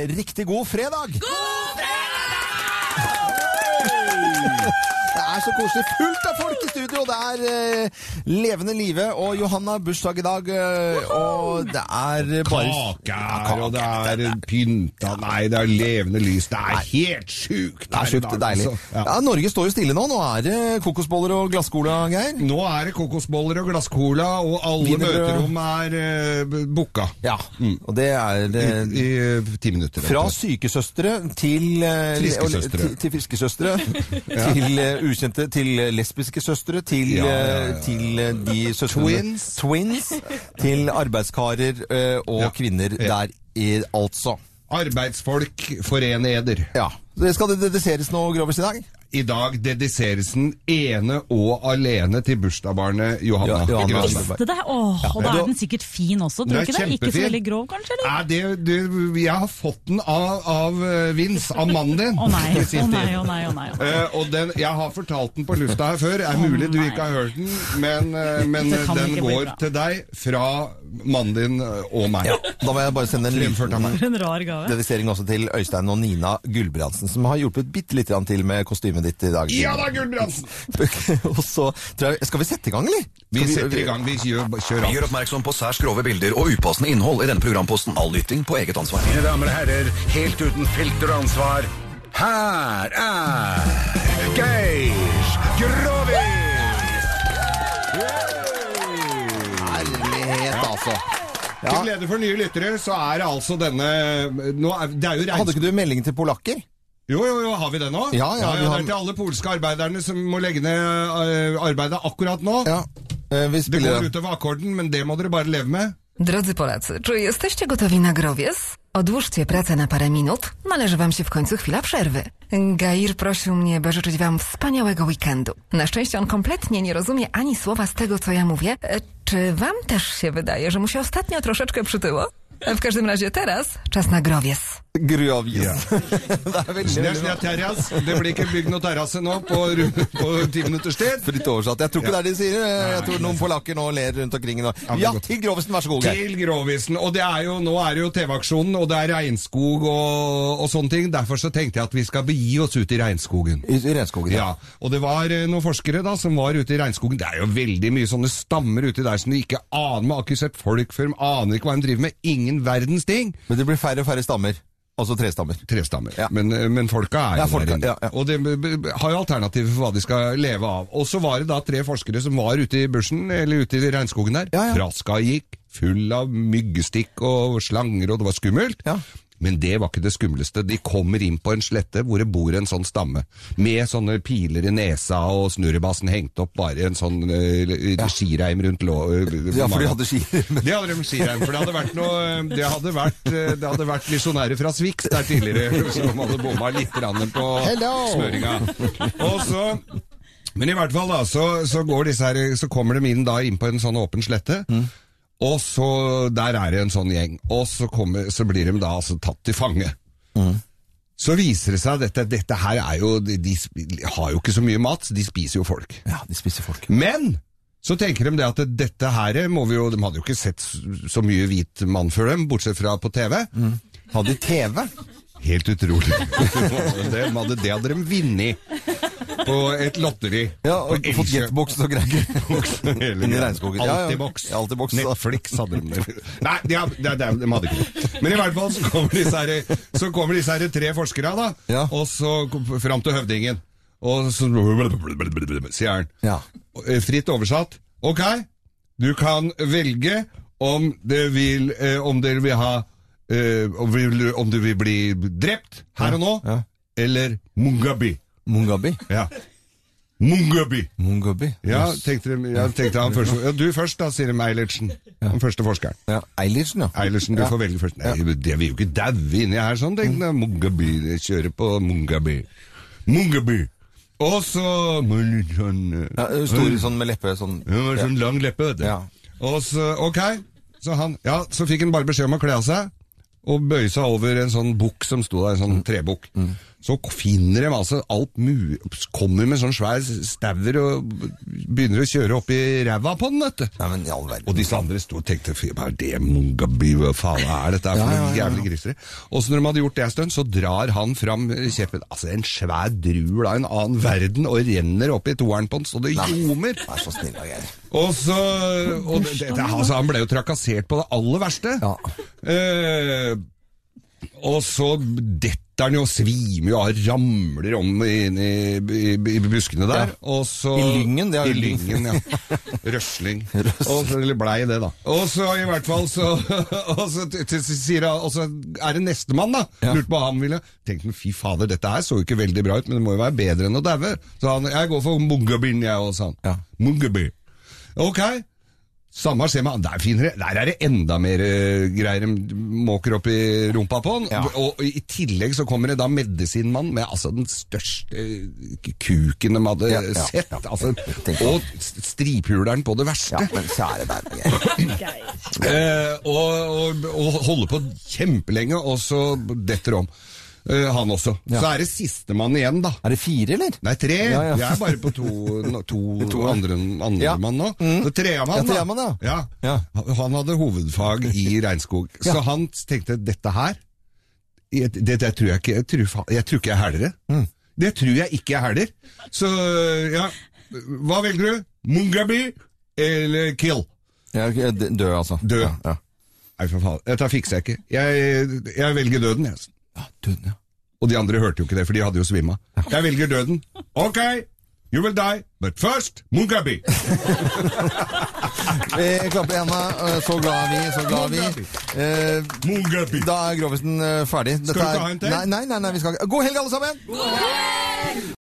Riktig god fredag! Det er så koselig. Fullt av folk i studio! Det er eh, levende live. Og Johanna har bursdag i dag. eh, og det er eh, bare Kaker, og det er pynta Nei, det er levende lys. Det er helt sjukt! Det er sjukt i dag, deilig. altså. Ja, Ja. Norge står jo stille nå. Nå er det kokosboller og glasskola, Geir. Nå er det kokosboller og glasscola, og alle Wienerbrød. møterom er uh, booka. Ja, og det er eh, I eh, ti minutter. Fra omtrent. sykesøstre til eh, Friskesøstre. til- Til friskesøstre. Til eh, ukjente, til lesbiske søstre, til, Ja, ja, ja. eh, til eh, de søstrene Twins. Twins, Til arbeidskarer eh, og Ja. kvinner Ja. der, i, altså. Arbeidsfolk, forene eder. Ja. Det skal det dediseres noe grovis i dag? I dag dediseres den ene og alene til bursdagsbarnet Johanna. Jo- Johanna Grønberg. Grønberg. Det der, åh, og da Men er du- den sikkert fin også, Den tror er du ikke det? Ikke så kjempefin. veldig grov, kanskje? eller? Nei, det, du, jeg har fått den av, av eh, Vince, av mannen din. Å nei, til å sist nei, tid. å nei. å nei. Eh, og den, Jeg har fortalt den på lufta her før. Er mulig du nei. ikke har hørt den, men, eh, men Det kan den ikke bli går bra. til deg fra mannen din eh, og meg. Da må jeg bare sende en Fremført av liten meg. For en rar gave. dedisering også til Øystein og Nina Gulbrandsen, som har hjulpet bitte litt grann til med kostymet ditt i dag. Ja da, Gulbrandsen! og så tror jeg, Skal vi sette i gang, eller? Vi Skal setter i gang. Vi kjører, kjører av. Gjør oppmerksom på særs grove bilder og upassende innhold i denne programposten. All lytting på eget ansvar. Mine damer og herrer, helt uten filter og ansvar, her er Geir Grovis! Herlighet, altså. Til glede for nye lyttere, så er det altså denne nå er, Det er jo Hadde regnskog... ikke du melding til polakker? Jo, jo, jo, har vi det nå? Ja, ja, vi det har- er til alle polske arbeiderne som må legge ned eh, arbeidet akkurat nå. Ja. Eh, Vi Det spiller går utover akkorden, men det må dere bare leve med. Drodzy Polacy, czy jesteście gotowi na growiec? Odłóżcie pracę na parę minut, należy wam się w końcu chwila przerwy. Gair prosił mnie, by życzyć wam wspaniałego weekendu. Na szczęście on kompletnie nie rozumie ani słowa z tego, co ja mówię. E, Czy wam też się wydaje, że mu się ostatnio troszeczkę przytyło? E, W każdym razie teraz czas na growiec. Grøvis. det er veldig, Det veldig er sånn bra. at terras, det blir ikke bygd noe terrasse nå på, ru- på ti minutters tid. Fritt oversatt. Jeg tror ikke det er det de sier. Jeg tror noen polakker nå ler rundt omkring. Nå. men Ja, godt. til Grovesen, vær så god, Geir. Til Grovisen. Og det er jo, nå er det jo TV-aksjonen, og det er regnskog og, og sånne ting. Derfor så tenkte jeg at vi skal begi oss ut i regnskogen. I i regnskogen. Ja, og det var eh, noen forskere da som var ute i regnskogen. Det er jo veldig mye sånne stammer ute der som de ikke aner med. Har ikke sett folk før, de aner ikke hva de driver med. Ingen verdens ting. Men det blir færre og færre stammer. Altså trestammer. Trestammer. Ja. Men, eh, men folka er Ja, jo folka, der inne. ja, ja. Og de b- b- har jo alternativer for hva de skal leve av. Og så var det da tre forskere som var ute i bushen, eller ute i regnskogen der. Ja, ja. Fraska gikk, full av myggestikk og slanger, og det var skummelt. Ja. Men det var ikke det skumleste. De kommer inn på en slette hvor det bor en sånn stamme, med sånne piler i nesa og snurrebassen hengt opp, bare en sånn eh, skireim rundt lå... eh, Ja, for de hadde ski. Det hadde de sier for det hadde vært noe Det hadde vært, eh, det hadde vært misjonærer fra Swix der tidligere som hadde bomma litt grann på Hello! smøringa. Og så Men i hvert fall, da, så, så, går disse her, så kommer de inn da inn på en sånn åpen slette. Og så Der er det en sånn gjeng. Og så, kommer, så blir de da altså tatt til fange. Så viser det seg at dette, dette her er jo de, de sp- har jo ikke så mye mat, så de spiser jo folk. Ja, de spiser folk. Men så tenker de det at dette her må vi jo De hadde jo ikke sett så mye hvit mann før dem, bortsett fra på TV. Hadde de TV? Helt utrolig. det hadde, det hadde de vunnet på et lotteri. Ja, og På fått Elkjøp. getbox og greier. Hele Inni greia. regnskogen. Ja, ja. Altibox. Ja, altså. Altibox, da. Netflix hadde de. Nei, de, har- de, de, de hadde ikke det. Men i hvert fall så kommer disse her, så kommer disse her tre forskere, da, Ja. og så kom- fram til høvdingen. Og så sier han Ja. Eh, Fritt oversatt. Ok, du kan velge om, det vil, eh, om dere vil ha eh, om, vil, om du vil bli drept her og nå, ja. eller Mungabi. Mungabi. Ja. Mungabi. Mungabi. Ja, tenkte, de- ja, tenkte han først. Ja, du først, da, sier de Eilertsen. Den første forskeren. Ja, Eilertsen, ja. Eilertsen, du får velge først. Nei, det vil jo ikke daue inni her, sånn, tenkte jeg. Mungaby, jeg kjører på Mungaby. Mungaby! Og så med litt sånn ja eh, Stor sånn med leppe sånn. ja, med sånn lang leppe, vet du. Ja. Og så, ok, så han, ja, så Mm. fikk han bare beskjed om å kle av seg, og bøye seg over en sånn bukk som sto der, en sånn trebukk. Så finner de altså alt mu... Kommer med sånn svær staur og begynner å kjøre opp i ræva på den, vet du. Nei, men i all verden. Og disse andre sto og tenkte "Fy, Hva er det, Mungabi, hva faen er dette her for Ja, ja, ja, noen ja. jævlig grisere? Og så når de hadde gjort det en stund, så drar han fram kjeppen. Altså, en svær drul av en annen verden og renner opp i toeren på den, så det ljomer. Vær så snill, da, Geir. Og så og det, det, altså, Han ble jo trakassert på det aller verste. Ja. Eh, og så detter han jo og svimer jo av, ramler om inn i, i, i buskene der. Og så, I lyngen, det er I jo lyng. lyngen, ja. Røsling. Og så, eller blei det, da. Og så i hvert fall så, og så, til- til- sier han, og så er det nestemann, da. Ja. Lurt på hva han ville. Tenkte fy fader, dette her så jo ikke veldig bra ut, men det må jo være bedre enn å daue. Så han jeg går for Mungabyen, jeg òg, sa han. Ja. Mungeby. Ok. Samme skjer med han. Der, finner, der er det enda mer eh, greier de måker opp i rumpa på han. Ja. Og, og i tillegg så kommer det da medisinmann med altså den største eh, kuken de hadde Ja, ja, sett. ja. altså, Tenk på og s- striphuleren på det verste. Ja, men kjære deg, Geir. Eh, og, og, og holder på kjempelenge, og så detter om. Eh, han også. Så er det sistemann igjen, da. Er det fire, eller? Nei, tre. Ja, ja. Jeg er bare på to, no- to, andre, andre Ja. Mm. mann nå. Så treamann, Ja, treamann, ja. Ja. Ja. Han hadde hovedfag i regnskog. Så han tenkte dette her jeg- det, det tror jeg ikke Jeg tror, fa- jeg tror ikke jeg hæler det. Det tror jeg ikke jeg hæler. Så ja Hva velger du? Mungabi eller Kill? Ja, ok, d- Død, altså. Død. Ja, ja. Nei, for faen. Dette fikser jeg ikke. Jeg, jeg velger døden, jeg. Ja, død, ja. Og de andre hørte jo ikke det, for de hadde jo svimma. Jeg velger døden. Ok, you will die, but first Mugabi. Vi klapper i hendene. øh, Så glad er vi, så glad er vi. Eh, Mugabi. Da er Grovisen øh, ferdig. Dette du ikke er- ha en til? Nei, nei, nei, nei, vi skal ikke. God helg, alle sammen!